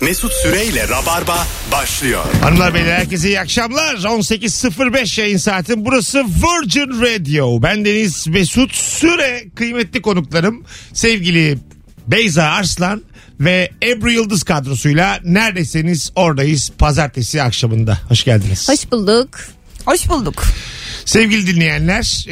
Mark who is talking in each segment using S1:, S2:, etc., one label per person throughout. S1: Mesut Süreyle Rabarba başlıyor.
S2: Hanımlar beyler herkese iyi akşamlar. 18.05 yayın saatin burası Virgin Radio. Ben Deniz Mesut Süre kıymetli konuklarım sevgili Beyza Arslan ve Ebru Yıldız kadrosuyla neredesiniz oradayız pazartesi akşamında. Hoş geldiniz.
S3: Hoş bulduk.
S4: Hoş bulduk.
S2: Sevgili dinleyenler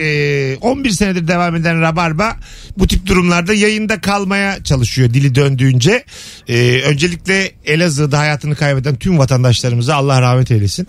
S2: e, 11 senedir devam eden Rabarba bu tip durumlarda yayında kalmaya çalışıyor dili döndüğünce. E, Öncelikle Elazığ'da hayatını kaybeden tüm vatandaşlarımıza Allah rahmet eylesin.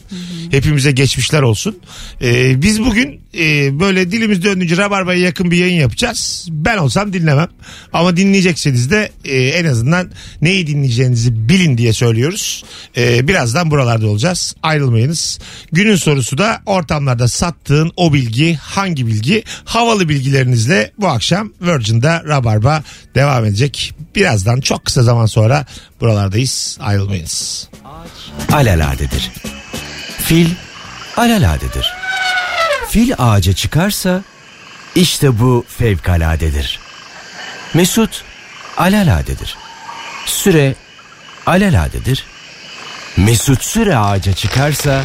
S2: Hepimize geçmişler olsun. E, Biz bugün e, böyle dilimiz döndüğünce Rabarba'ya yakın bir yayın yapacağız. Ben olsam dinlemem ama dinleyecekseniz de e, en azından neyi dinleyeceğinizi bilin diye söylüyoruz. E, Birazdan buralarda olacağız ayrılmayınız. Günün sorusu da ortamlarda sattığın o bilgi hangi bilgi? Havalı bilgilerinizle bu akşam Virgin'de Rabarba devam edecek. Birazdan çok kısa zaman sonra buralardayız. Ayrılmayınız.
S5: alaladedir. Fil alaladedir. Fil ağaca çıkarsa işte bu fevkaladedir. Mesut alaladedir. Süre alaladedir. Mesut süre ağaca çıkarsa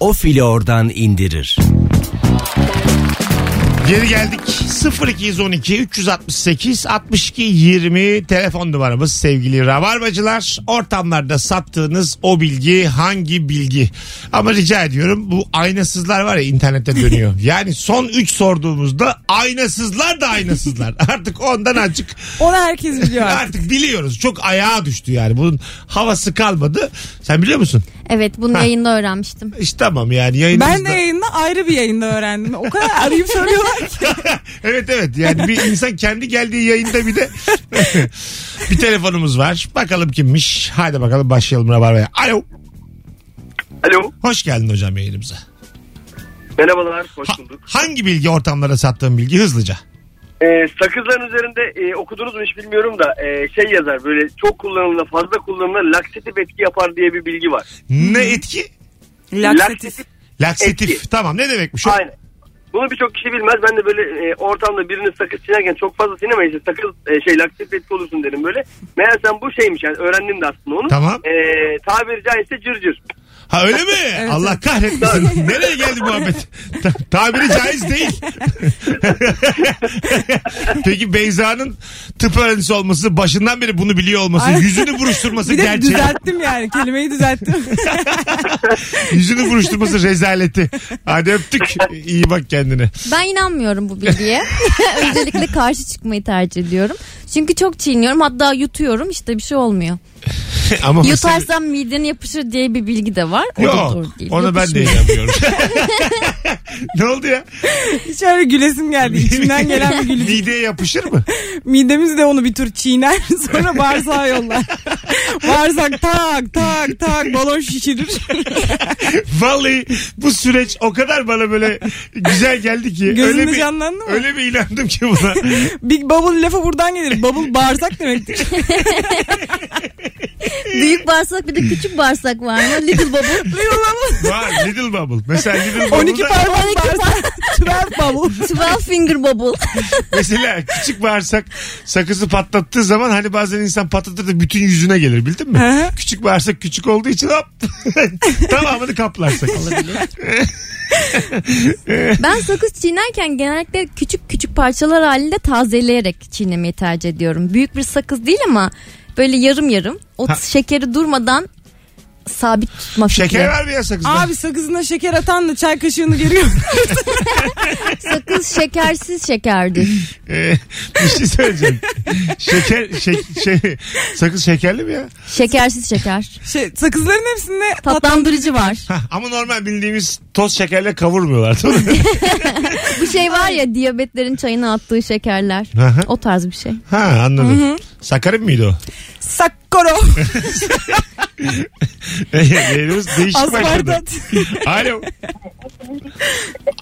S5: o fili oradan indirir.
S2: Geri geldik. 0212 368 62 20 telefon numaramız sevgili Rabarbacılar. Ortamlarda sattığınız o bilgi hangi bilgi? Ama rica ediyorum bu aynasızlar var ya internette dönüyor. Yani son 3 sorduğumuzda aynasızlar da aynasızlar. Artık ondan açık.
S4: Onu herkes biliyor artık.
S2: Artık biliyoruz. Çok ayağa düştü yani. Bunun havası kalmadı. Sen biliyor musun?
S3: Evet bunu yayında öğrenmiştim.
S2: İşte tamam yani yayınımızda.
S4: Ben de yayında ayrı bir yayında öğrendim. O kadar arayıp soruyorlar ki.
S2: evet evet yani bir insan kendi geldiği yayında bir de bir telefonumuz var. Bakalım kimmiş. Haydi bakalım başlayalım Rabarba'ya. Alo.
S6: Alo.
S2: Hoş geldin hocam yayınımıza.
S6: Merhabalar. Hoş
S2: Ha-
S6: bulduk.
S2: hangi bilgi ortamlara sattığın bilgi hızlıca?
S6: Ee, sakızların üzerinde e, okudunuz mu hiç bilmiyorum da e, şey yazar böyle çok kullanımla fazla kullanımla laksatif etki yapar diye bir bilgi var.
S2: Ne etki?
S4: Laksatif.
S2: Laksatif.
S6: Etki.
S2: Tamam ne demekmiş? o?
S6: Aynen. Bunu birçok kişi bilmez. Ben de böyle e, ortamda birinin sakız çiğnerken çok fazla sinema işte sakız e, şey laksatif etki olursun derim böyle. Meğersem bu şeymiş yani öğrendim de aslında onu.
S2: Tamam.
S6: E, tabiri caizse cırcır.
S2: Ha öyle mi? Allah kahretmesin. Nereye geldi muhabbet? Ta- tabiri caiz değil. Peki Beyza'nın tıp öğrencisi olması, başından beri bunu biliyor olması,
S4: Ay.
S2: yüzünü buruşturması
S4: Bir de
S2: gerçeği.
S4: düzelttim yani. Kelimeyi düzelttim.
S2: Yüzünü buruşturması rezaleti. Hadi öptük. İyi bak kendine.
S3: Ben inanmıyorum bu bilgiye. Öncelikle karşı çıkmayı tercih ediyorum. Çünkü çok çiğniyorum hatta yutuyorum işte bir şey olmuyor.
S2: Ama mesela-
S3: Yutarsam midene yapışır diye bir bilgi de var. O da
S2: Yok.
S3: doğru değil.
S2: Ona ben de
S3: Yapışmıyor.
S2: inanmıyorum. ne oldu ya?
S4: Hiç öyle gülesim geldi. İçimden gelen bir gülücük.
S2: Mideye yapışır mı?
S4: Midemiz de onu bir tür çiğner. Sonra bağırsağa yollar. Bağırsak tak tak tak balon şişirir.
S2: Vallahi bu süreç o kadar bana böyle güzel geldi ki.
S4: Gözünde
S2: öyle bir,
S4: canlandı mı?
S2: Öyle bir inandım ki buna.
S4: Big Bubble lafı buradan gelir. Bubble bağırsak demektir.
S3: Büyük bağırsak bir de küçük bağırsak var mı? Little bubble.
S2: Var Little Bubble. Mesela Little
S4: 12
S2: Bubble'da
S4: parmak bağırsak. 12 bubble.
S3: 12 finger bubble.
S2: mesela küçük bağırsak sakızı patlattığı zaman hani bazen insan patlatır da bütün yüzüne gelir bildin mi?
S4: Hı hı.
S2: Küçük bağırsak küçük olduğu için hop tamamını kaplar sakız.
S3: Ben sakız çiğnerken genellikle küçük küçük parçalar halinde tazeleyerek çiğnemeyi tercih ediyorum. Büyük bir sakız değil ama böyle yarım yarım o
S2: Ha.
S3: şekeri durmadan sabit tutma fikri.
S2: Şeker var mı ya sakızda?
S4: şey Abi sakızına şeker atan da çay kaşığını görüyor.
S3: Sakız şekersiz şekerdir.
S2: Ee, bir şey söyleyeceğim. şeker, şek- şey, sakız şekerli mi ya?
S3: Şekersiz şeker.
S4: Şey, sakızların hepsinde
S3: Tatlandırıcı var.
S2: Hah, ama normal bildiğimiz toz şekerle kavurmuyorlar. değil mi?
S3: Bu şey var ya diyabetlerin çayına attığı şekerler.
S2: Hı hı.
S3: o tarz bir şey.
S2: ha anladım. Sakarin miydi o?
S4: sakkoro.
S2: Yayınımız Ee, değişik başladı.
S4: Aspartat.
S2: Alo.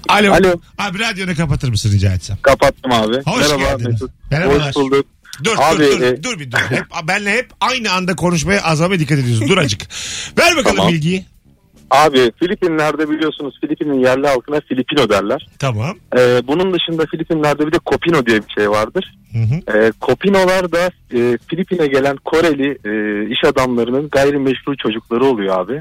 S2: Alo.
S7: Alo.
S2: Abi radyonu kapatır mısın rica etsem?
S7: Kapattım abi.
S2: Hoş
S7: Merhaba
S2: geldin.
S7: Mesut.
S2: Merhabalar.
S7: Hoş bulduk.
S2: Dur
S7: Abi,
S2: dur dur,
S7: e-
S2: dur bir dur. Hep, benle hep aynı anda konuşmaya azami dikkat ediyorsun. Dur acık. Ver bakalım
S7: Tamam.
S2: bilgiyi.
S7: Abi Filipinler'de biliyorsunuz Filipin'in yerli halkına Filipino derler.
S2: Tamam.
S7: Ee, bunun dışında Filipinler'de bir de Kopino diye bir şey vardır.
S2: Hı hı.
S7: Ee, Kopinolar da e, Filipin'e gelen Koreli e, iş adamlarının gayrimeşru çocukları oluyor abi.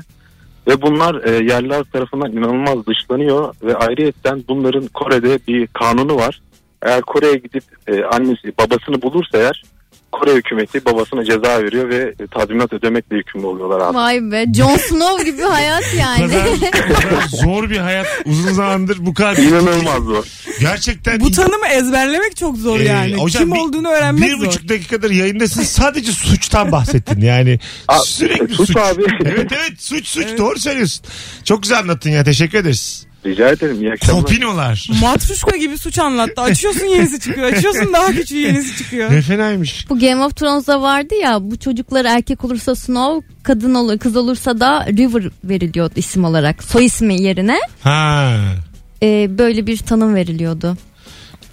S7: Ve bunlar e, yerliler tarafından inanılmaz dışlanıyor ve ayrıyetten bunların Kore'de bir kanunu var. Eğer Kore'ye gidip e, annesi babasını bulursa eğer Kore hükümeti babasına ceza veriyor ve e, tazminat ödemekle yükümlü oluyorlar abi.
S3: Vay be Jon Snow gibi hayat
S2: Bu
S3: yani.
S2: kadar, bu kadar zor bir hayat uzun zamandır bu kadar
S7: İnanılmaz bu.
S2: gerçekten
S4: Bu tanımı ezberlemek çok zor
S2: Ee,
S4: yani.
S2: hocam
S4: Kim
S2: bir-
S4: olduğunu öğrenmek
S2: bir
S4: zor.
S2: buçuk dakikadır yayındasın sadece suçtan bahsettin yani
S7: Abi,
S2: sürekli suç,
S7: suç abi.
S2: evet evet suç suç doğru söylüyorsun çok güzel anlattın ya teşekkür ederiz
S7: Rica ederim iyi akşamlar.
S2: kopinolar
S4: Matruşka gibi suç anlattı. Açıyorsun yenisi çıkıyor. Açıyorsun daha küçüğü yenisi çıkıyor.
S2: ne fenaymış
S3: Bu Game of Thrones'da vardı ya bu çocuklar erkek olursa Snow, kadın olur, kız olursa da River veriliyordu isim olarak. Soy ismi yerine
S2: ha
S3: e, böyle bir tanım veriliyordu.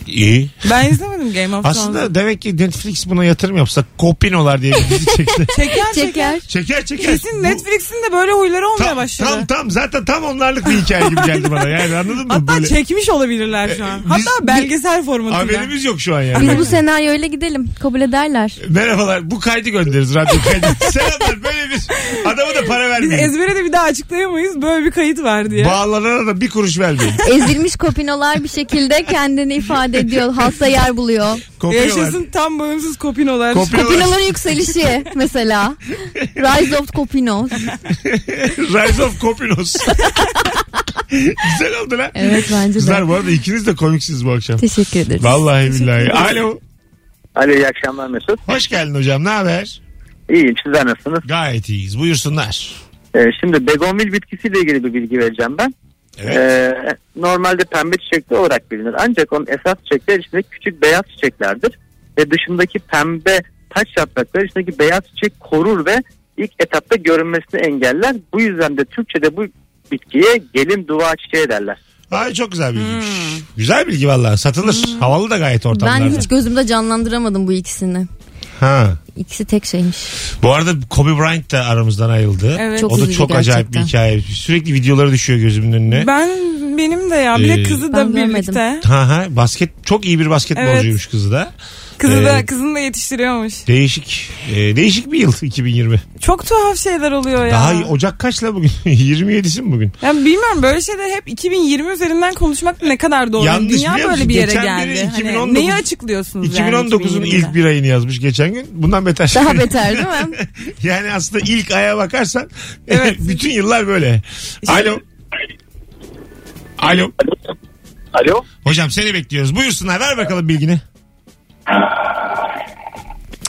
S2: iyi
S4: Ben izlemedim Game of Thrones'u.
S2: aslında demek ki Netflix buna yatırım yapsa kopinolar diye bir dizi çekse
S4: Çeker çeker.
S3: Çeker.
S2: çeker çeker
S4: Kesin
S2: Bu-
S4: Netflix'in de böyle huyları olmaya
S2: tam,
S4: başladı.
S2: tam tam zaten tam onlarlık bir hikaye gibi geldi bana yani anladın mı
S4: Hatta
S2: böyle Ee,
S4: çekmiş olabilirler şu an. Hatta
S2: biz-
S4: belgesel formatında.
S2: haberimiz yok şu an yani
S3: Biz bu senaryoyla gidelim. Kabul ederler.
S2: Merhabalar. Bu kaydı göndeririz radyo kaydı. Selamlar. Böyle bir adama da para
S4: Biz
S2: vermeyin.
S4: ezbere de bir daha açıklayamayız. Böyle bir kayıt var diye.
S2: Bağlanana da bir kuruş vermeyin.
S3: Ezilmiş kopinolar bir şekilde kendini ifade ediyor. Halkta yer buluyor.
S2: Kopuyorlar.
S4: Yaşasın tam bağımsız kopinolar.
S2: Kopuyorlar.
S3: Kopinoların yükselişi mesela. Rise of Kopino.
S2: Rise of Kopinos. Güzel oldu lan.
S3: Evet bence de.
S2: Kızlar bu arada ikiniz de komiksiniz bu akşam.
S3: Teşekkür ederiz.
S2: Vallahi billahi. Alo.
S8: Alo iyi akşamlar Mesut.
S2: Hoş geldin hocam. Ne haber?
S8: İyiyim sizler nasılsınız?
S2: Gayet iyiyiz. Buyursunlar.
S8: Ee, şimdi begonvil bitkisiyle ilgili bir bilgi vereceğim ben.
S2: Evet.
S8: Ee, normalde pembe çiçekli olarak bilinir. Ancak onun esas çiçekler içinde küçük beyaz çiçeklerdir. Ve dışındaki pembe taç yaprakları içindeki beyaz çiçek korur ve ilk etapta görünmesini engeller. Bu yüzden de Türkçe'de bu bitkiye gelin dua çiçeği derler.
S2: Ay çok güzel
S3: Hmm.
S2: bilgiymiş. Güzel bilgi vallahi. Satılır. Havalı da gayet ortamlarda.
S3: Ben hiç gözümde canlandıramadım bu ikisini.
S2: Ha.
S3: İkisi tek şeymiş.
S2: Bu arada Kobe Bryant da aramızdan ayrıldı.
S4: Evet.
S3: Çok
S2: o da
S3: üzücü
S2: çok acayip bir
S3: gerçekten.
S2: hikaye. Sürekli videoları düşüyor gözümün önüne.
S4: Ben benim de ya. Bir
S2: Ee,
S4: de kızı da
S3: Ben görmedim.
S4: birlikte.
S2: Ha ha basket çok iyi bir basketbolcuymuş kızı da.
S4: Kızı da
S2: Ee,
S4: kızını da yetiştiriyormuş.
S2: Değişik. e, değişik bir yıl 2020.
S4: Çok tuhaf şeyler oluyor ya.
S2: Daha iyi- Ocak kaçla bugün? 27'si mi bugün?
S4: Yani bilmiyorum böyle şeyler hep 2020 üzerinden konuşmak ne kadar doğru.
S2: Yanlış
S4: Dünya
S2: biliyor
S4: böyle
S2: musun?
S4: bir yere
S2: Geçen biri
S4: geldi. Hani
S2: 2019
S4: neyi açıklıyorsunuz
S2: 2019'un
S4: yani
S2: ilk bir ayını yazmış geçen gün. Bundan beter.
S3: Daha beter değil mi?
S2: yani aslında ilk aya bakarsan
S4: Evet.
S2: bütün yıllar böyle. Alo. Alo.
S7: Alo.
S2: Hocam seni bekliyoruz. Buyursunlar ver bakalım bilgini.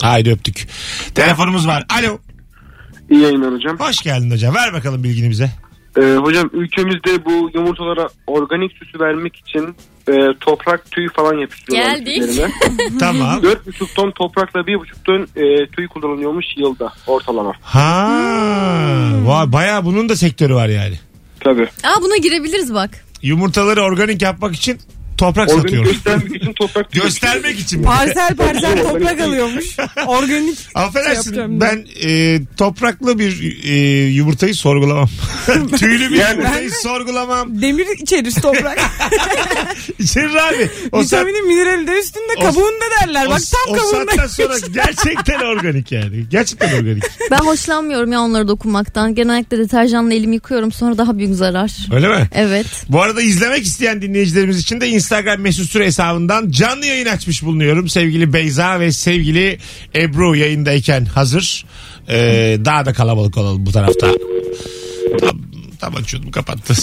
S2: Haydi öptük. Telefonumuz var. Alo.
S7: İyi yayınlar hocam.
S2: Hoş geldin hocam. Ver bakalım bilgini bize.
S7: Ee, hocam ülkemizde bu yumurtalara organik süsü vermek için e, toprak tüy falan yapıştırıyorlar.
S3: Geldik.
S7: üzerine.
S2: Tamam.
S7: 4,5 ton toprakla 1,5 ton e, tüy kullanılıyormuş yılda ortalama.
S2: Ha, vay bayağı bunun da sektörü var yani.
S7: Tabii.
S3: Aa buna girebiliriz bak.
S2: Yumurtaları organik yapmak için toprak
S7: Organik
S2: satıyoruz.
S7: göstermek için toprak tüy
S2: Göstermek için.
S4: Parsel parsel toprak alıyormuş. Organik.
S2: Affedersin
S4: Şey yapacağım
S2: ben e, topraklı bir e, yumurtayı sorgulamam. Tüylü bir yumurtayı sorgulamam.
S4: Demir içerir toprak.
S2: İçerir abi. O saat-
S4: Vitamini minerali de üstünde
S2: O-
S4: kabuğunda derler.
S2: o-
S4: Bak tam
S2: o saatten
S4: kabuğunda.
S2: sonra gerçekten organik yani. Gerçekten organik.
S3: Ben hoşlanmıyorum ya onları dokunmaktan. Genellikle deterjanla elimi yıkıyorum sonra daha büyük zarar.
S2: Öyle mi?
S3: Evet.
S2: Bu arada izlemek isteyen dinleyicilerimiz için de Instagram mesut süre hesabından canlı yayın açmış bulunuyorum. Sevgili Beyza ve sevgili Ebru yayındayken hazır. Ee, daha da kalabalık olalım bu tarafta. Tam, tam açıyordum kapattı.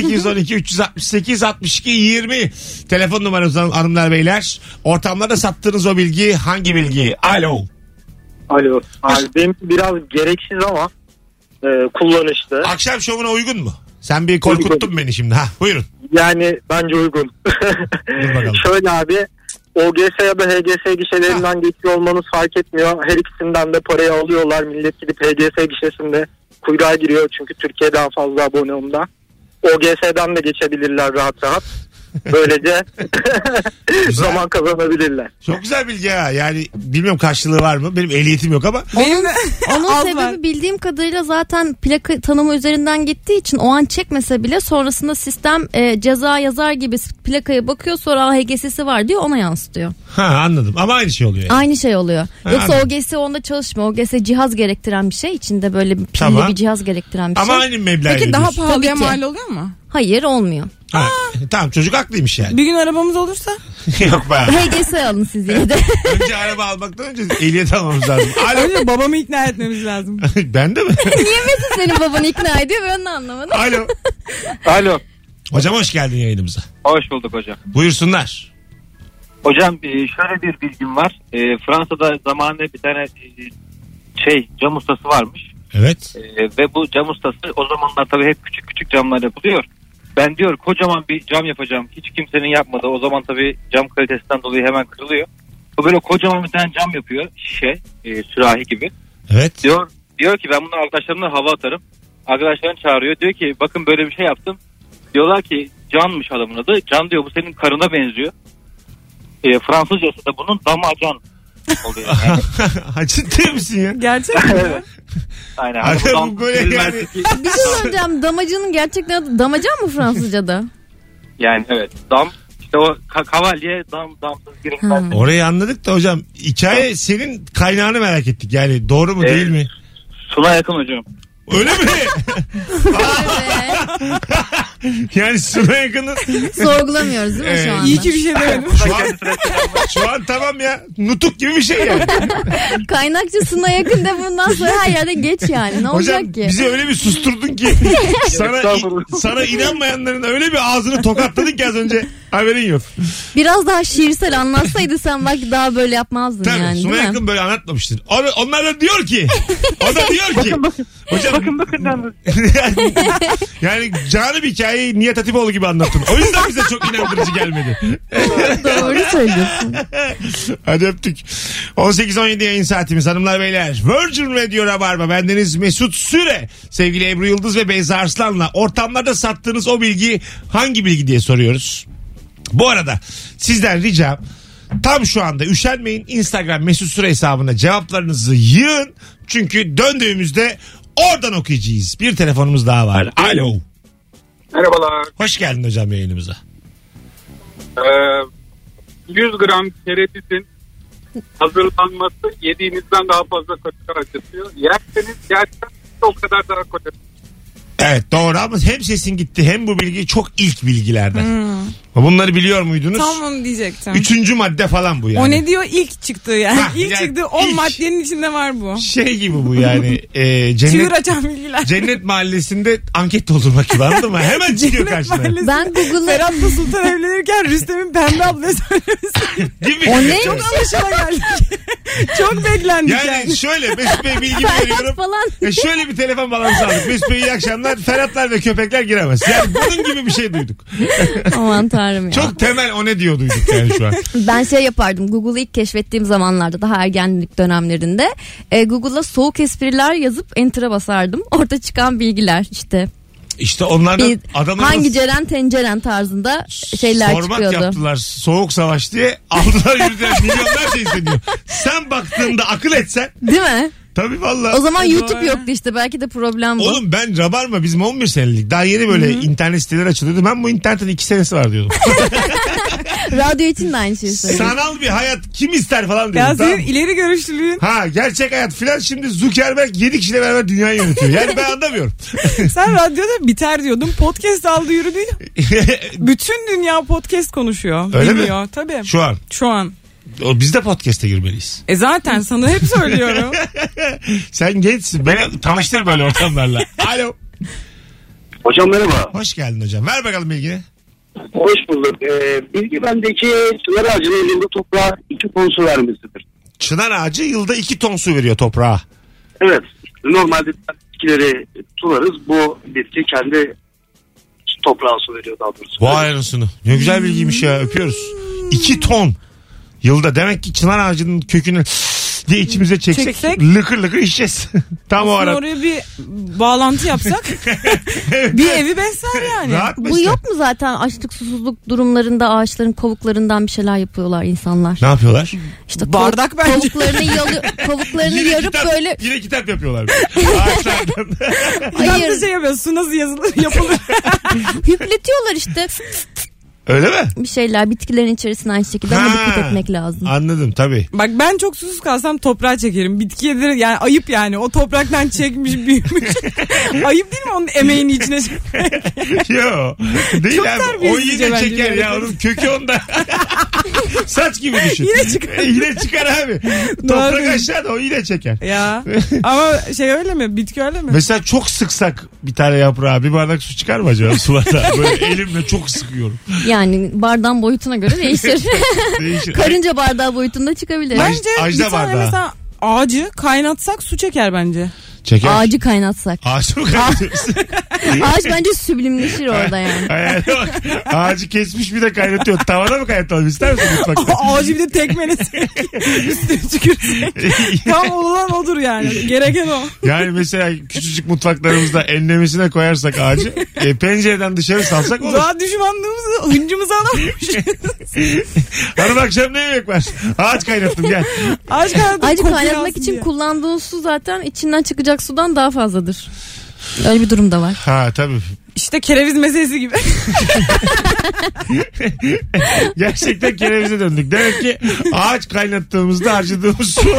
S2: 0212 368 62 20 telefon numaramız han- hanımlar beyler. Ortamlarda sattığınız o bilgi hangi bilgi? Alo.
S8: Alo. Benim biraz gereksiz ama e, kullanışlı.
S2: Akşam şovuna uygun mu? Sen bir korkuttun beni şimdi. Ha, buyurun.
S8: Yani bence uygun.
S2: bakalım.
S8: Şöyle abi OGS ya da HGS gişelerinden geçiyor olmanız fark etmiyor. Her ikisinden de parayı alıyorlar. Millet gidip HGS gişesinde kuyruğa giriyor. Çünkü Türkiye daha fazla abone onda. OGS'den de geçebilirler rahat rahat. Böylece
S2: Güzel.
S8: zaman kazanabilirler.
S2: Çok güzel bilgi ha. Yani bilmiyorum karşılığı var mı? Benim ehliyetim yok ama.
S4: Benim de
S3: Onun
S4: az
S3: sebebi
S4: var.
S3: bildiğim kadarıyla zaten plaka tanımı üzerinden gittiği için o an çekmese bile sonrasında sistem e, ceza yazar gibi plakaya bakıyor sonra "Aa, HGS'si var diyor ona yansıtıyor.
S2: Ha anladım. Ama aynı şey oluyor. yani.
S3: Aynı şey oluyor.
S2: Ha,
S3: Yoksa
S2: anladım.
S3: OGS E onda çalışmıyor. OGS E cihaz gerektiren bir şey. içinde böyle bir pilli
S2: Tamam.
S3: bir cihaz gerektiren bir
S2: Ama hani-
S3: şey.
S2: aynı meblağ
S4: Peki daha
S2: ödüyorsun.
S4: pahalıya
S3: Tabii ki.
S4: mal oluyor mu?
S3: Hayır olmuyor.
S2: Ha, e, Tamam çocuk haklıymış yani.
S4: Bir gün arabamız olursa
S2: yok be.
S3: HGS E alın siz yine de.
S2: Önce araba almaktan önce ehliyet almamız lazım. Alo.
S4: önce babamı ikna etmemiz lazım.
S2: ben de mi?
S3: Niye Mesut senin babanı ikna ediyor ben onu anlamadım.
S2: Alo.
S9: Alo.
S2: Hocam hoş geldin yayınımıza.
S9: Hoş bulduk hocam.
S2: Buyursunlar.
S9: Hocam e, şöyle bir bilgim var. E, Fransa'da zamanında bir tane e, şey cam ustası varmış.
S2: Evet.
S9: E, Ve bu cam ustası o zamanlar tabii hep küçük küçük camlar yapılıyor. Ben diyor kocaman bir cam yapacağım. Hiç kimsenin yapmadığı. O zaman tabii cam kalitesinden dolayı hemen kırılıyor. O böyle kocaman bir tane cam yapıyor. Şişe, e, sürahi gibi.
S2: Evet.
S9: Diyor diyor ki ben bunu arkadaşlarımla hava atarım. Arkadaşlarını çağırıyor. Diyor ki bakın böyle bir şey yaptım. Diyorlar ki Can'mış adamın adı. Can diyor bu senin karına benziyor. E, Fransızcası da bunun damacan oluyor. Yani,
S2: Ha, Ciddi misin ya?
S4: Gerçek mi?
S9: aynen. Hani
S2: Abi bu
S9: Buradan
S2: böyle
S9: bilmez
S2: yani-
S9: ki-
S3: Bir şey soracağım damacının gerçekten adı damacan mı Fransızca'da?
S9: Yani evet dam işte o ka- kavalye dam damsız girilmez.
S3: Hmm.
S2: Orayı anladık da hocam hikaye senin kaynağını merak ettik. Yani doğru mu
S9: Evet.
S2: değil mi?
S9: Sula yakın hocam.
S2: Öyle mi?
S3: Evet.
S2: yani şuna yakını
S3: Sorgulamıyoruz değil mi
S2: Ee,
S3: şu anda?
S4: İyi ki bir şey demedim.
S2: şu an, şu an tamam ya. Nutuk gibi bir şey yani.
S3: Kaynakçısına yakın de bundan sonra her yerde geç yani. Ne
S2: Hocam
S3: olacak ki?
S2: bizi öyle bir susturdun ki sana sana inanmayanların öyle bir ağzını tokatladın ki az önce haberin yok.
S3: Biraz daha şiirsel anlatsaydın sen bak daha böyle yapmazdın
S2: Tabii
S3: yani.
S2: Suna
S3: değil mi?
S2: yakın böyle anlatmamıştır. Onu- onlar da diyor ki. O da diyor ki. Hocam, bakın bakın. yani, yani canı bir hikayeyi Nihat Hatipoğlu gibi anlattın. O yüzden bize çok inandırıcı gelmedi.
S3: Doğru söylüyorsun.
S2: Hadi öptük. 18-17 yayın saatimiz hanımlar beyler. Virgin Radio Rabarba. Bendeniz Mesut Süre. Sevgili Ebru Yıldız ve Beyza Arslan'la ortamlarda sattığınız o bilgi hangi bilgi diye soruyoruz. Bu arada sizden ricam tam şu anda üşenmeyin Instagram Mesut Süre hesabına cevaplarınızı yığın. Çünkü döndüğümüzde oradan okuyacağız. Bir telefonumuz daha var. Alo.
S10: Merhabalar.
S2: Hoş geldin hocam yayınımıza.
S10: Ee, 100 gram kerevitin hazırlanması yediğinizden daha fazla kolesterol acıtıyor. Yerseniz gerçekten o kadar daha kolesterol.
S2: Evet doğru ama hem sesin gitti hem bu bilgi çok ilk bilgilerden. Bunları biliyor muydunuz?
S4: Hmm. Tam onu diyecektim.
S2: Üçüncü madde falan bu yani.
S4: O ne diyor? İlk çıktı yani.
S2: Ha,
S4: ilk
S2: yani
S4: çıktı. O
S2: ilk.
S4: maddenin içinde var bu.
S2: Şey gibi bu yani.
S4: Çığır
S2: e, cennet,
S4: açan bilgiler.
S2: cennet mahallesinde anket doldurmak gibi anladın mı? Hemen çıkıyor
S4: Cennet
S2: karşına.
S4: Mahallesi.
S3: Ben Google'ı
S4: Ferhat'la Sultan evlenirken Rüstem'in pembe ablaya söylemesi.
S2: Gibi.
S3: O ne?
S4: Çok alışıla geldik. Çok beklendik yani.
S2: Yani şöyle Mesut Bey bilgi veriyorum.
S3: Ferhat falan.
S2: E şöyle bir telefon balansı aldık. Mesut Bey iyi akşamlar. Ferhatlar ve köpekler giremez. Yani bunun gibi bir şey duyduk.
S3: Aman tanrım ya.
S2: Çok temel o ne diyor duyduk yani şu an.
S3: Ben şey yapardım. Google'ı ilk keşfettiğim zamanlarda daha ergenlik dönemlerinde e, Google'a soğuk espriler yazıp enter'a basardım. Orada çıkan bilgiler işte.
S2: İşte onlardan
S3: Bir,
S2: adamların
S3: hangi ceren tenceren tarzında şeyler
S2: sormak
S3: çıkıyordu.
S2: yaptılar. Soğuk savaş diye aldılar yürüdüler. Milyonlar şey hissediyor. Sen baktığında akıl etsen
S3: Değil mi?
S2: tabii vallahi.
S3: O zaman YouTube
S4: doğru.
S3: yoktu işte. Belki de problem bu.
S2: Oğlum ben Rabarba bizim 11 senelik. Daha yeni böyle internet siteleri açılıyordu. Ben bu internetin 2 senesi var diyordum.
S3: Radyo için de aynı şeyi söylüyorum.
S2: Sanal bir hayat kim ister falan
S4: Ya
S2: diyordum.
S4: senin
S2: Tamam.
S4: ileri görüşlülüğün
S2: Ha gerçek hayat filan şimdi Zuckerberg 7 kişiyle beraber dünyayı yönetiyor. Yani ben anlamıyorum.
S4: sen radyoda biter diyordun. Podcast aldı yürüdü. Bütün dünya podcast konuşuyor.
S2: Öyle mi?
S4: Bilmiyor tabii. Şu,
S2: Şu an.
S4: an.
S2: O, biz de podcast'e girmeliyiz.
S4: E zaten sana hep söylüyorum.
S2: Sen gençsin. Beni tanıştır böyle ortamlarla. Alo.
S8: Hocam merhaba.
S2: Hoş geldin hocam. Ver bakalım bilgini.
S8: Hoş bulduk. Ee, bilgi bendeki çınar ağacının elinde toprağa iki ton su vermesidir.
S2: Çınar ağacı yılda 2 ton su veriyor toprağa.
S8: Evet. Normalde bitkileri tularız. Bu bitki kendi toprağa su veriyor daha doğrusu.
S2: Vay anasını. Ne güzel bilgiymiş ya. Öpüyoruz. 2 ton. Yılda demek ki çınar ağacının kökünü diye içimize çeksek,
S4: Çeksek.
S2: lıkır lıkır içeceğiz. Tam o
S4: Aslında
S2: ara.
S4: oraya bir bağlantı yapsak bir evi besler yani.
S2: Rahat
S3: Bu
S2: mesela.
S3: yok mu zaten açlık susuzluk durumlarında ağaçların kovuklarından bir şeyler yapıyorlar insanlar.
S2: Ne yapıyorlar?
S3: İşte kovuk-
S4: Bardak bence.
S3: Kovuklarını, yalı, kovuklarını
S2: Yine
S3: yarıp
S2: kitap-
S3: böyle
S2: Yine kitap yapıyorlar. Ağaçlardan.
S4: Hayır.
S3: hayır
S4: şey yapıyor. Su nasıl yazılır yapılır.
S3: hüpletiyorlar işte
S2: Öyle mi?
S3: bir şeyler bitkilerin içerisine aynı şekilde ama
S2: Ha.
S3: dikkat etmek lazım.
S2: Anladım tabii.
S4: Bak ben çok susuz kalsam toprağa çekerim. Bitki yedirir yani ayıp yani. O topraktan çekmiş büyümüş. ayıp değil mi onun emeğini içine çek-
S2: Yo. Değil
S4: Çok
S2: abi. O
S4: terbiyesizce
S2: yine
S4: bence
S2: çeker
S4: böyle
S2: ya.
S4: kadın.
S2: Onun kökü onda. Saç gibi düşün.
S4: Yine çıkar.
S2: E, yine çıkar abi. Toprak
S4: Doğru.
S2: aşağıda o yine çeker.
S4: Ya ama şey öyle mi? Bitki öyle mi?
S2: Mesela çok sıksak bir tane yaprağı bir bardak su çıkar mı acaba sularda? Böyle elimle çok sıkıyorum.
S3: Yani bardağın boyutuna göre değişir.
S2: Değişir.
S3: Karınca bardağı boyutunda çıkabilir.
S2: Ay-
S4: Bence
S2: Ajda
S4: bir tane
S2: bardağı.
S4: mesela ağacı kaynatsak su çeker bence.
S2: Çeker.
S3: Ağacı kaynatsak.
S2: Ağaç mı kaynatıyorsun?
S3: Ağaç bence süblimleşir orada yani.
S2: Hayata bak. Ağacı kesmiş bir de kaynatıyor. Tavada mı kaynatalım ister misin mutfakta?
S4: ağacı bir de tekmelesek. Üstüne tükürsek. Tam olan odur yani. Gereken o.
S2: yani mesela küçücük mutfaklarımızda enlemesine koyarsak ağacı e, pencereden dışarı salsak olur.
S4: Daha düşmanlığımızı, hıncımızı alamamışız.
S2: Hanım akşam ne yemek var? Ağaç kaynattım gel.
S4: Ağaç kaynatmak,
S3: Ağacı
S4: kokuyor
S3: kaynatmak
S4: aslında
S3: için
S4: diye.
S3: kullandığın su zaten içinden çıkacak sudan daha fazladır. Öyle bir durum da var.
S2: Ha tabii.
S4: İşte kereviz meselesi gibi.
S2: Gerçekten kerevize döndük. Demek ki ağaç kaynattığımızda harcadığımız su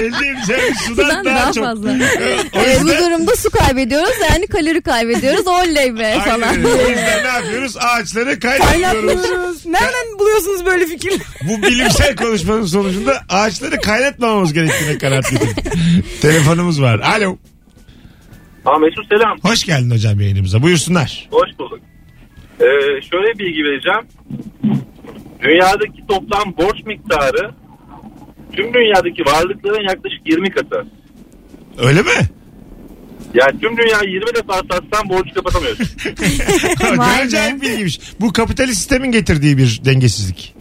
S2: elde edeceğimiz sudan,
S3: Sudan
S2: daha,
S3: daha
S2: çok.
S3: fazla.
S2: O
S3: Ee, bu
S2: yüzden,
S3: durumda su kaybediyoruz yani kalori kaybediyoruz. Oley be E falan.
S2: Aynen öyle. o yüzden ne yapıyoruz? Ağaçları kaynatıyoruz.
S4: Kaynatmıyoruz. Nereden buluyorsunuz böyle fikirleri?
S2: Bu bilimsel konuşmanın sonucunda ağaçları kaynatmamamız gerektiğine karar verdik. Telefonumuz var. Alo.
S9: Aa, Mesut selam.
S2: Hoş geldin hocam yayınımıza. Buyursunlar.
S9: Hoş bulduk. Ee, şöyle bilgi vereceğim. Dünyadaki toplam borç miktarı tüm dünyadaki varlıkların yaklaşık 20 katı.
S2: Öyle mi?
S9: Yani tüm dünya 20 defa satsan borcu kapatamıyorsun.
S2: Ne acayip bilgiymiş. Bu kapitalist sistemin getirdiği bir dengesizlik.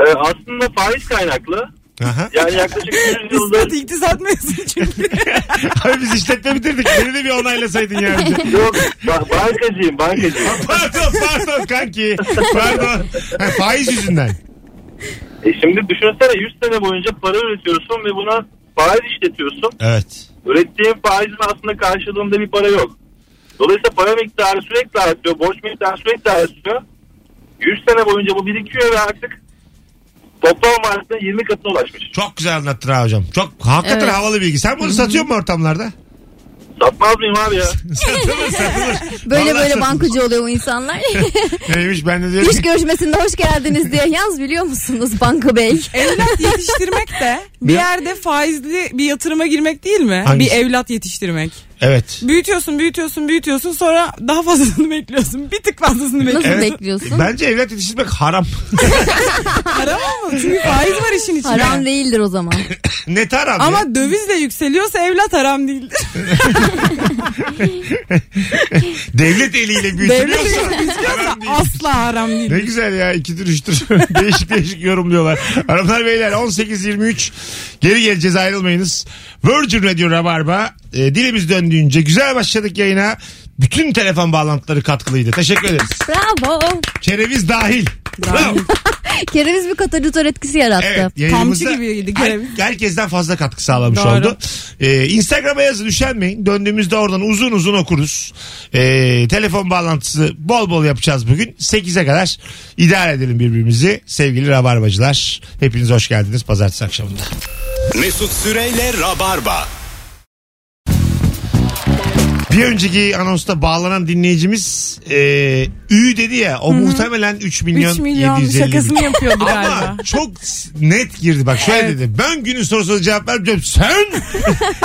S9: Ee, aslında faiz kaynaklı.
S2: Aha.
S9: Yani yaklaşık 100 yıldır
S4: İstat iktisat meselesi çünkü.
S2: Abi biz işletme bitirdik. Beni de bir onaylasaydın yani.
S9: yok. ba- Bankacıyım bankacıyım.
S2: Pardon pardon kanki. Pardon. Ha, faiz yüzünden.
S9: E şimdi düşünsene 100 sene boyunca para üretiyorsun ve buna faiz işletiyorsun.
S2: Evet.
S9: Ürettiğin faizin aslında karşılığında bir para yok. Dolayısıyla para miktarı sürekli artıyor. Borç miktarı sürekli artıyor. 100 sene boyunca bu birikiyor ve artık toplam varlığına 20 katına ulaşmış.
S2: Çok güzel anlattın ha hocam. Çok hakikaten
S3: Evet.
S2: havalı bilgi. Sen bunu satıyor musun ortamlarda?
S9: Satmaz mıyım abi ya?
S2: satılır satılır.
S3: Böyle
S2: Vallahi
S3: böyle
S2: satılır.
S3: bankacı oluyor bu insanlar.
S2: Neymiş ben de diyorum
S3: İş
S2: ki
S3: görüşmesinde hoş geldiniz diye. Yalnız biliyor musunuz banka bey?
S4: evlat yetiştirmek de bir
S2: Ya.
S4: yerde faizli bir yatırıma girmek değil mi?
S2: Hangisi?
S4: Bir evlat yetiştirmek.
S2: Evet.
S4: Büyütüyorsun, büyütüyorsun, büyütüyorsun sonra daha fazlasını bekliyorsun. Bir tık fazlasını
S3: Nasıl
S4: bekliyorsun.
S3: bekliyorsun?
S2: Bence evlat yetiştirmek haram.
S4: Haram ama çünkü faiz var işin içinde.
S3: Haram değildir o zaman.
S2: Net haram ya.
S4: Ama dövizle yükseliyorsa evlat haram değildir.
S2: Devlet eliyle
S4: Devlet
S2: büyütülüyorsa.
S4: dövizle yükseliyorsa
S2: haram değil.
S4: asla haram değil.
S2: Ne güzel ya ikidir üçtür. değişik değişik yorumluyorlar. Hanımlar beyler 18.23 geri geleceğiz ayrılmayınız. Virgin Radio Rabarba e, dilimiz döndüğünce güzel başladık yayına. Bütün telefon bağlantıları katkılıydı. Teşekkür ederiz.
S3: Bravo.
S2: Kereviz dahil. Bravo.
S3: Kereviz bir katalizör etkisi yarattı.
S2: Evet, yayınımıza
S4: Kamçı gibiydi kereviz.
S2: her- herkesten fazla katkı sağlamış
S4: Doğru.
S2: oldu. Ee, Instagram'a yazın üşenmeyin. Döndüğümüzde oradan uzun uzun okuruz. Ee, telefon bağlantısı bol bol yapacağız bugün. 8'e kadar idare edelim birbirimizi. Sevgili Rabarbacılar hepiniz hoş geldiniz pazartesi akşamında.
S1: Mesut Süreyle Rabarba.
S2: Bir önceki anonsta bağlanan dinleyicimiz e, Ü dedi ya o muhtemelen 3 milyon,
S4: 3 milyon
S2: 750 bin.
S4: şakasını yapıyordu galiba.
S2: Ama çok net girdi. Bak şöyle dedi. Ben günün sorusuna cevap vermeyeceğim. Sen!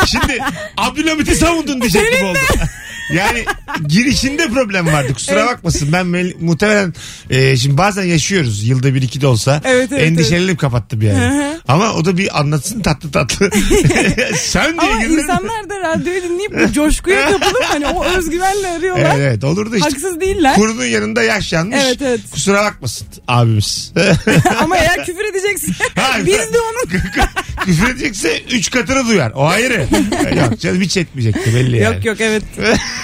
S2: Şimdi Abdülhamit'i savundun diyecek gibi oldu. Yani girişinde problem vardı kusura bakmasın. Ben mel- muhtemelen e, şimdi bazen yaşıyoruz yılda bir iki de olsa.
S4: Evet, evet,
S2: endişelenip kapattım yani. Ama o da bir anlatsın tatlı tatlı. Sen diye
S4: Ama
S2: girdin.
S4: insanlar da radyoyu dinleyip bu coşkuya kapılıp hani o özgüvenle arıyorlar.
S2: Evet, evet olurdu işte.
S4: Haksız değiller.
S2: Kurunun yanında yaş yanmış.
S4: Evet, evet.
S2: Kusura bakmasın abimiz.
S4: Ama eğer küfür edeceksin
S2: Hayır,
S4: biz de onun
S2: Küfür edecekse üç katını duyar. O ayrı. yok canım hiç etmeyecekti belli yani.
S4: Yok yok evet.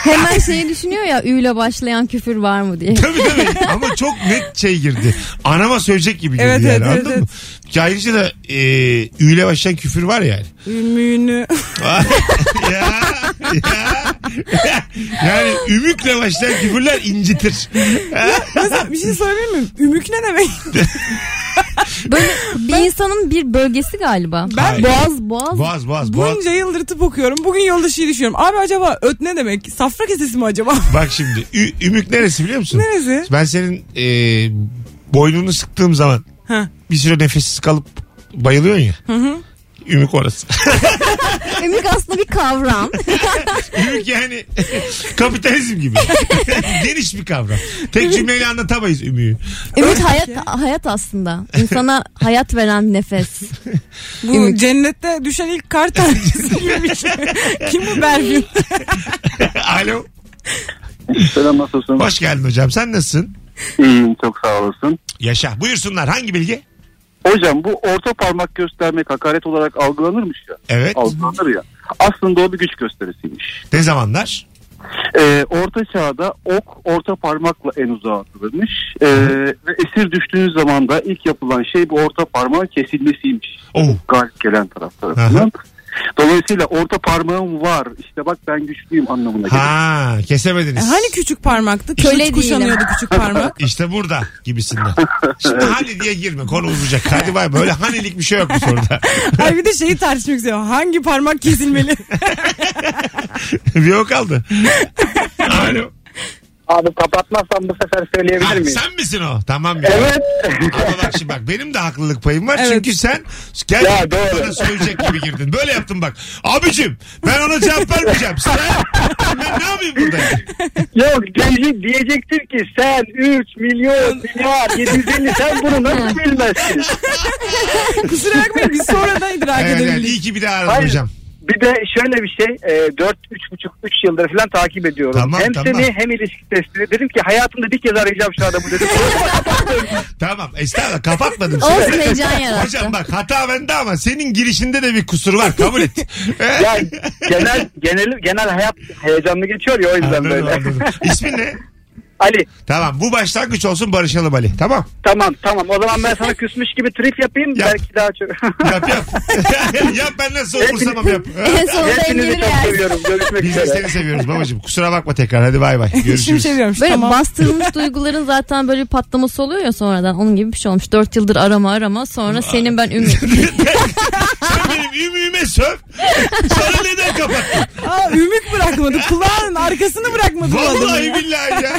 S3: Hemen şeyi düşünüyor ya üyle başlayan küfür var mı diye.
S2: Tabii tabii ama çok net şey girdi. Anama söyleyecek gibi girdi
S4: Evet,
S2: yani
S4: evet,
S2: anladın
S4: evet,
S2: mı? Ki ayrıca da e, üyle başlayan küfür var yani.
S4: Ümüğünü.
S2: ya, ya, yani ümükle başlayan küfürler incitir.
S4: Mesela bir şey söyleyebilir miyim? Ümük ne demek?
S3: Böyle bir insanın bir bölgesi galiba.
S4: Ben
S2: Hayır.
S3: Boğaz, boğaz.
S2: Boğaz boğaz boğaz.
S4: bunca yıldırtıp okuyorum. Bugün yolda şey düşünüyorum. Abi acaba öt ne demek? Safra kesesi mi acaba?
S2: Bak şimdi ü- ümük neresi biliyor musun?
S4: Neresi?
S2: Ben senin e, boynunu sıktığım zaman
S4: Ha.
S2: bir süre nefessiz kalıp bayılıyorsun ya. Ümük orası.
S3: Ümük aslında bir kavram.
S2: Ümük yani kapitalizm gibi. Geniş bir kavram. Tek cümleyle anlatamayız ümüğü.
S3: Ümit hayat hayat aslında. İnsana hayat veren nefes.
S4: Bu
S3: Ümük.
S4: cennette düşen ilk kar tanesi gibi bir şey. Kim bu Berfin?
S2: Alo.
S7: Selam nasılsın?
S2: Hoş geldin hocam. Sen nasılsın?
S7: İyiyim çok sağ olasın.
S2: Yaşa. Buyursunlar. Hangi bilgi?
S7: Hocam bu orta parmak göstermek hakaret olarak algılanırmış ya.
S2: Evet.
S7: Algılanır ya. Aslında o bir güç gösterisiymiş.
S2: Ne zamanlar?
S7: Ee, orta çağda ok orta parmakla en uzağa atılırmış. Ee, ve esir düştüğünüz zaman da ilk yapılan şey bu orta parmağın kesilmesiymiş.
S2: Oh.
S7: Galip gelen taraf tarafından. Dolayısıyla orta parmağım var. İşte bak ben güçlüyüm anlamına gelir.
S2: Ha
S4: E,
S2: kesemediniz.
S4: Hani küçük parmaktı?
S3: Köle
S4: Köle kuşanıyordu küçük parmak.
S2: İşte burada gibisinden. Şimdi hani diye girme konu uzayacak. Hadi bay bay. Böyle hanilik bir şey yok bu soruda.
S4: Ay bir de şeyi tartışmak istiyorum. Hangi parmak kesilmeli?
S2: bir o kaldı. Alo.
S8: Abi kapatmazsam bu sefer
S2: Ha,
S8: söyleyebilir miyim?
S2: sen misin o? Tamam ya. Ama bak şimdi bak benim de haklılık payım var.
S4: Evet.
S2: Çünkü sen
S8: Ya,
S2: gerçekten
S8: doğru.
S2: bana söyleyecek gibi girdin. Böyle yaptın bak. Abicim ben ona cevap vermeyeceğim. Sen ben ne yapayım burada? yani?
S8: Yok diyecek, diyecektir ki sen 3 milyon milyar 750 sen bunu nasıl bilmezsin?
S4: Kusura bakmayın biz sonradan idrak
S2: Evet, yani,
S4: edebildik.
S2: iyi ki bir daha aradım
S8: Hayır.
S2: hocam.
S8: Bir de şöyle bir şey e, 4 3,5 3 yıldır falan takip ediyorum.
S2: Tamam,
S8: hem
S2: tamam.
S8: seni hem ilişki testini. Dedim ki hayatımda bir kez arayacağım şu adamı dedim.
S2: Tamam estağfurullah kapatmadım seni.
S3: Olsun heyecan yarattı.
S2: Hocam bak hata bende ama senin girişinde de bir kusur var kabul et.
S8: ya genel genel genel hayat heyecanlı geçiyor ya o yüzden
S2: anladım,
S8: böyle.
S2: anladım. İsmin ne?
S8: Ali
S2: Tamam bu başlangıç olsun barışalım Ali. Tamam
S8: tamam tamam o zaman ben sana küsmüş gibi trip yapayım
S2: Yap.
S8: belki daha çok.
S2: yap yap. yap ben nasıl umursamam yap.
S3: en sonunda
S8: Hepinizi
S3: engelir
S8: çok
S3: yani.
S8: seviyorum. Görüşmek
S2: Biz de
S8: üzere.
S2: seni seviyoruz babacığım. Kusura bakma tekrar hadi bay bay.
S4: Şimdi
S2: Görüşürüz.
S4: şey diyorum.
S3: Böyle
S4: tamam.
S3: bastırılmış duyguların zaten böyle bir patlaması oluyor ya sonradan. Onun gibi bir şey olmuş. Dört yıldır arama arama sonra senin ben ümit.
S2: Sen benim ümüğüme söv. Sana neden kapattın?
S4: Aa, ümük bırakmadı. Kulağın arkasını bırakmadı. bu adamın
S2: Vallahi
S4: ya.
S2: billahi ya.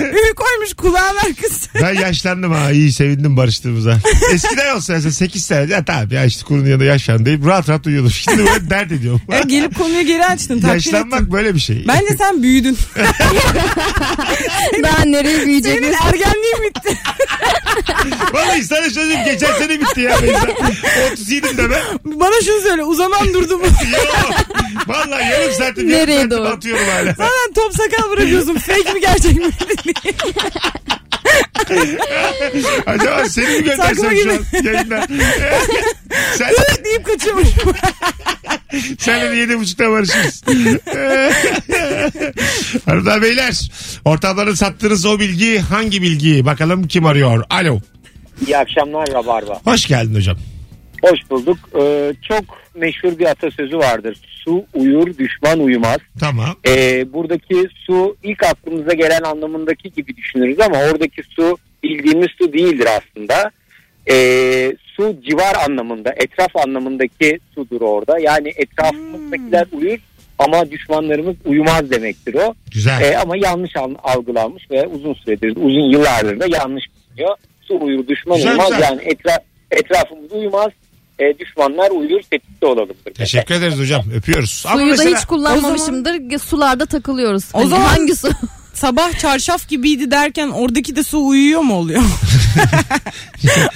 S4: Ümük koymuş kulağın arkası.
S2: Ben yaşlandım ha iyi sevindim barıştığımıza. Eskiden olsa mesela 8 sene ya tamam ya işte kurun yanında yaşlandı deyip rahat rahat uyuyordum. Şimdi böyle dert ediyorum.
S3: E,
S4: Ya gelip konuyu geri açtın. takdir ettin.
S2: Yaşlanmak böyle bir şey.
S4: Bence sen büyüdün.
S3: Daha nereye büyüyecek?
S4: Senin ergenliğin bitti.
S2: Vallahi sana söyleyeyim geçen sene bitti ya. Beyza. 37'im de ben.
S4: Bana şunu söyle uzaman durdu mu?
S2: Yok. Vallahi yarım saatim
S3: Nereye
S2: yarım saatim
S3: doğru?
S2: atıyorum hala.
S4: Zaten top sakal bırakıyorsun. Fake mi gerçek mi?
S2: Acaba seni mi
S4: Sakla
S2: göndersem şu
S4: gibi.
S2: an yayından? sen,
S4: deyip kaçıyormuş.
S2: senle de yedi buçukta barışırız. Hanımlar beyler ortamlarda sattığınız o bilgi hangi bilgi? Bakalım kim arıyor? Alo.
S8: İyi akşamlar Rabarba.
S2: Hoş geldin hocam.
S8: Hoş bulduk. Ee, çok meşhur bir atasözü vardır. Su uyur düşman uyumaz.
S2: Tamam.
S8: Ee, buradaki su ilk aklımıza gelen anlamındaki gibi düşünürüz ama oradaki su bildiğimiz su değildir aslında. Ee, su civar anlamında, etraf anlamındaki sudur orada. Yani etrafımızdakiler uyur ama düşmanlarımız uyumaz demektir o.
S2: Güzel.
S8: Ee, ama yanlış al- algılanmış ve uzun süredir, uzun yıllardır da yanlış biliniyor. Su uyur düşman
S2: Güzel,
S8: uyumaz
S2: güzel.
S8: yani etraf, etrafımız uyumaz. Ee,
S11: e, düşmanlar uyur tetikte olalımdır.
S2: Teşekkür ederiz hocam. Öpüyoruz. Ama
S3: Suyu
S2: mesela-
S3: da hiç kullanmamışımdır. Sularda takılıyoruz.
S4: O
S3: Hani
S4: zaman-
S3: hangi su?
S4: Sabah çarşaf gibiydi derken oradaki de su uyuyor mu oluyor?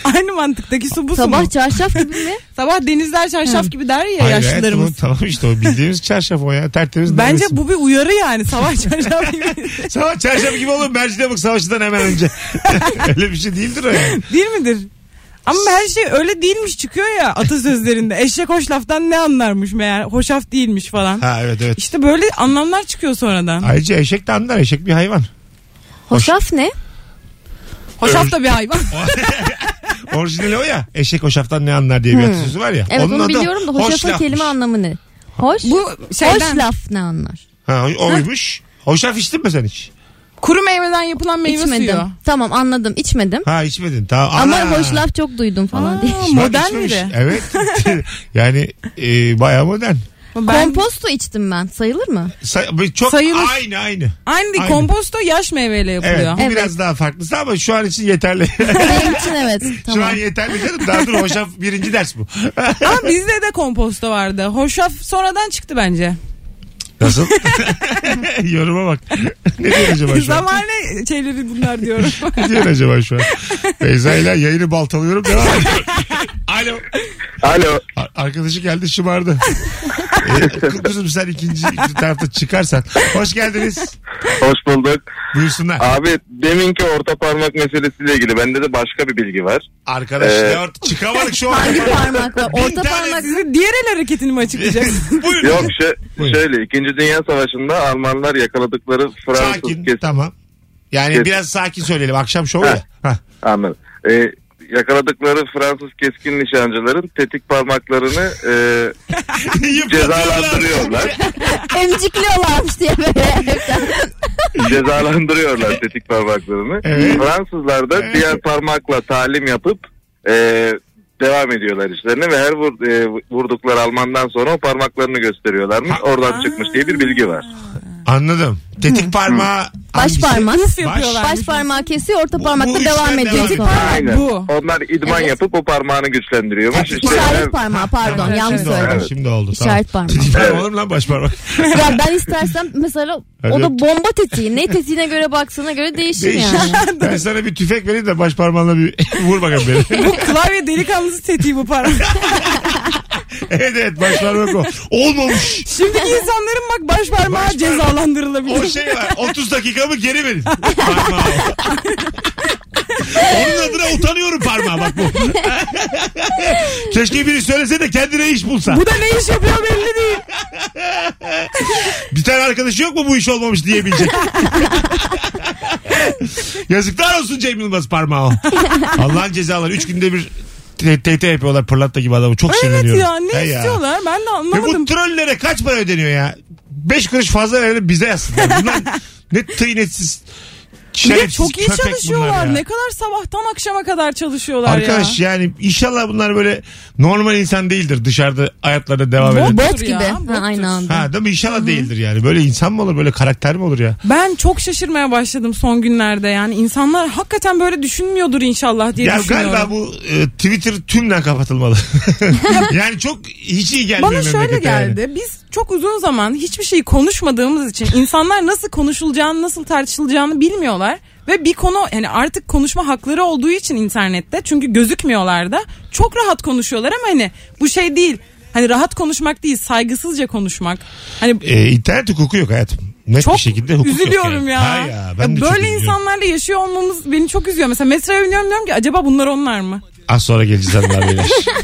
S4: Aynı mantıktaki su bu su
S3: Sabah
S4: mu?
S3: çarşaf gibi mi?
S4: Sabah denizler çarşaf gibi der ya
S2: Hayır,
S4: yaşlılarımız.
S2: hayatım, tamam işte o bildiğimiz çarşaf o ya. Tertemiz.
S4: Bence
S2: neredesin?
S4: bu bir uyarı yani sabah çarşaf gibi.
S2: Sabah çarşaf gibi olur. Mercidabık savaşından hemen önce. Öyle bir şey değildir o yani.
S4: Değil midir? Ama her şey öyle değilmiş çıkıyor ya atasözlerinde. Eşek hoş laftan ne anlarmış meğer hoşaf değilmiş falan.
S2: Ha evet evet.
S4: İşte böyle anlamlar çıkıyor sonradan.
S2: Ayrıca eşek de anlar. Eşek bir hayvan.
S3: Hoşaf ne?
S4: Hoşaf da bir hayvan.
S2: Orijinali o ya. Eşek hoşaftan ne anlar diye bir atasözü var ya.
S3: Hmm. Evet
S2: Onun
S3: onu
S2: adı
S3: biliyorum da hoşafın
S2: hoşlafmış.
S3: kelime anlamı ne? Hoş?
S4: Bu
S3: Hoş
S4: şeyden-
S3: laf ne anlar?
S2: Ha, o- oymuş. Hoşaf içtin mi sen hiç?
S4: Kuru meyveden yapılan meyve
S3: içmedim.
S4: suyu.
S3: Tamam anladım içmedim.
S2: Ha içmedin. Tamam.
S3: Ama
S2: Ana!
S3: hoş laf çok duydum falan diye.
S4: Aa,
S2: Bak,
S4: modern
S2: içmemiş.
S4: biri.
S2: Evet. yani e, bayağı modern.
S4: Ben,
S3: Komposto içtim ben sayılır mı?
S2: Say- çok
S4: Sayılır.
S2: aynı aynı.
S4: aynı değil,
S2: Aynı.
S4: komposto yaş meyveyle
S2: Evet,
S4: yapılıyor.
S2: bu
S3: Evet.
S2: biraz daha farklısı ama şu an için yeterli.
S3: Benim için evet. Tamam.
S2: Şu an yeterli canım. Daha dur hoşaf birinci ders bu.
S4: Ama bizde de komposto vardı. Hoşaf sonradan çıktı bence.
S2: Nasıl? Yoruma bak. ne diyor acaba şu an?
S4: Zamane şeyleri bunlar diyorum.
S2: Ne diyor acaba şu an? Beyza ile yayını baltalıyorum devam ediyorum. Alo.
S8: Alo.
S2: A- Arkadaşı geldi şımardı. ee, Kuduzum sen ikinci, ikinci tarafta çıkarsan. Hoş geldiniz.
S8: Hoş bulduk.
S2: Buyursunlar.
S8: Abi deminki orta parmak meselesiyle ilgili bende de başka bir bilgi var.
S2: Arkadaş
S8: Ee,
S2: ne ort- çıkamadık şu an.
S3: Hangi parmakla?
S2: Bir
S3: Orta
S2: tane-
S3: parmak.
S4: Size diğer el hareketini mi açıklayacaksınız?
S2: Buyurun.
S8: Yok şö-
S2: Buyurun.
S8: şöyle 2. Dünya Savaşı'nda Almanlar yakaladıkları Fransız
S2: Sakin
S8: kes-
S2: tamam. Yani
S8: Kesin.
S2: biraz sakin söyleyelim. Akşam şovu ya. Hah.
S8: Anladım. Ee, yakaladıkları Fransız keskin nişancıların tetik parmaklarını e, cezalandırıyorlar.
S3: Emcikliyorlarmış diye böyle.
S8: cezalandırıyorlar tetik parmaklarını.
S2: Evet.
S8: Fransızlar da
S2: Evet.
S8: diğer parmakla talim yapıp e, devam ediyorlar işlerine ve her vur- e, vurdukları Almandan sonra o parmaklarını gösteriyorlarmış. Oradan çıkmış diye bir bilgi var.
S2: Anladım. Tetik parmağı
S3: Baş
S2: hangisi?
S3: parmak.
S4: Uf yapıyorlar.
S3: Baş parmağı kesiyor orta
S2: Bu-
S3: parmakla
S2: bu işler
S3: devam ediyor
S2: devam
S3: sonra.
S8: Aynen.
S4: Bu.
S8: Onlar idman
S3: Evet.
S8: yapıp o parmağını güçlendiriyormuş.
S2: Tabii.
S8: İşte
S3: İşaret
S8: her-
S3: parmağı pardon
S2: Şimdi
S3: yanlış
S2: oldu,
S3: söyledim.
S2: Şimdi oldu.
S3: İşaret parmağı.
S2: tamam. Tetik parmağı olur mu lan baş parmak.
S3: Ya ben istersen mesela o
S2: Evet.
S3: da bomba tetiği. Ne tetiğine göre baksana göre değişir
S2: Değişir.
S3: yani.
S2: ben sana bir tüfek vereyim de baş parmağınla bir vur bakalım beni.
S4: Bu klavye delikanlısı tetiği bu parmak.
S2: evet evet baş parmak o. Olmamış.
S4: Şimdiki insanların bak baş parmağı
S2: Baş parmağı.
S4: cezalandırılabilir.
S2: O şey var. 30 dakikamı geri verin. Parmağı o. Onun adına utanıyorum parmağa bak bu. Keşke biri söylese de kendine iş bulsa.
S4: Bu da ne iş yapıyor belli değil.
S2: Bir tane arkadaşı yok mu bu iş olmamış diyebilecek? Yazıklar olsun Cem Yılmaz parmağı. o. Allah'ın cezaları. Üç günde bir te- TT yapıyorlar pırlatta gibi adamı. Çok
S4: Evet
S2: sinirleniyorum.
S4: ya ne
S2: He ya.
S4: istiyorlar ben de
S2: Ve
S4: anlamadım.
S2: bu trollere kaç para ödeniyor ya? Beş kuruş fazla verelim bize yazsınlar. Bunlar ne tıynetsiz
S4: Bir de
S2: şerefsiz
S4: çok iyi
S2: köpek şey, bunlar ya.
S4: çalışıyorlar. Ne kadar sabahtan akşama kadar çalışıyorlar
S2: Arkadaş
S4: ya.
S2: yani inşallah bunlar böyle normal insan değildir dışarıda hayatlarında devam eden.
S4: Bot
S3: Bot
S4: ya,
S3: gibi.
S4: bottur.
S3: Ha, aynı anda.
S2: Ha değil mi? İnşallah değildir yani. Böyle insan mı olur? Böyle karakter mi olur ya?
S4: Ben çok şaşırmaya başladım son günlerde yani. insanlar hakikaten böyle düşünmüyordur inşallah diye
S2: Ya
S4: düşünüyorum.
S2: galiba bu e, Twitter tümden kapatılmalı. yani çok hiç iyi gelmiyor
S4: Bana şöyle
S2: memlekete yani.
S4: geldi. Biz çok uzun zaman hiçbir şeyi konuşmadığımız için insanlar nasıl konuşulacağını, nasıl tartışılacağını bilmiyorlar. Ve bir konu yani artık konuşma hakları olduğu için internette çünkü gözükmüyorlar da çok rahat konuşuyorlar ama hani bu şey değil. Hani rahat konuşmak değil, saygısızca konuşmak. Hani
S2: E, internet hukuku yok hayatım. Net
S4: çok
S2: bir şekilde hukuk
S4: üzülüyorum
S2: yok yani.
S4: ya.
S2: Ha ya, ben
S4: Ya
S2: de çok
S4: böyle
S2: üzülüyorum.
S4: insanlarla yaşıyor olmamız beni çok üzüyor. Mesela metroya biniyorum diyorum ki acaba bunlar onlar mı?
S2: Az sonra geleceğiz hanımlar beyler.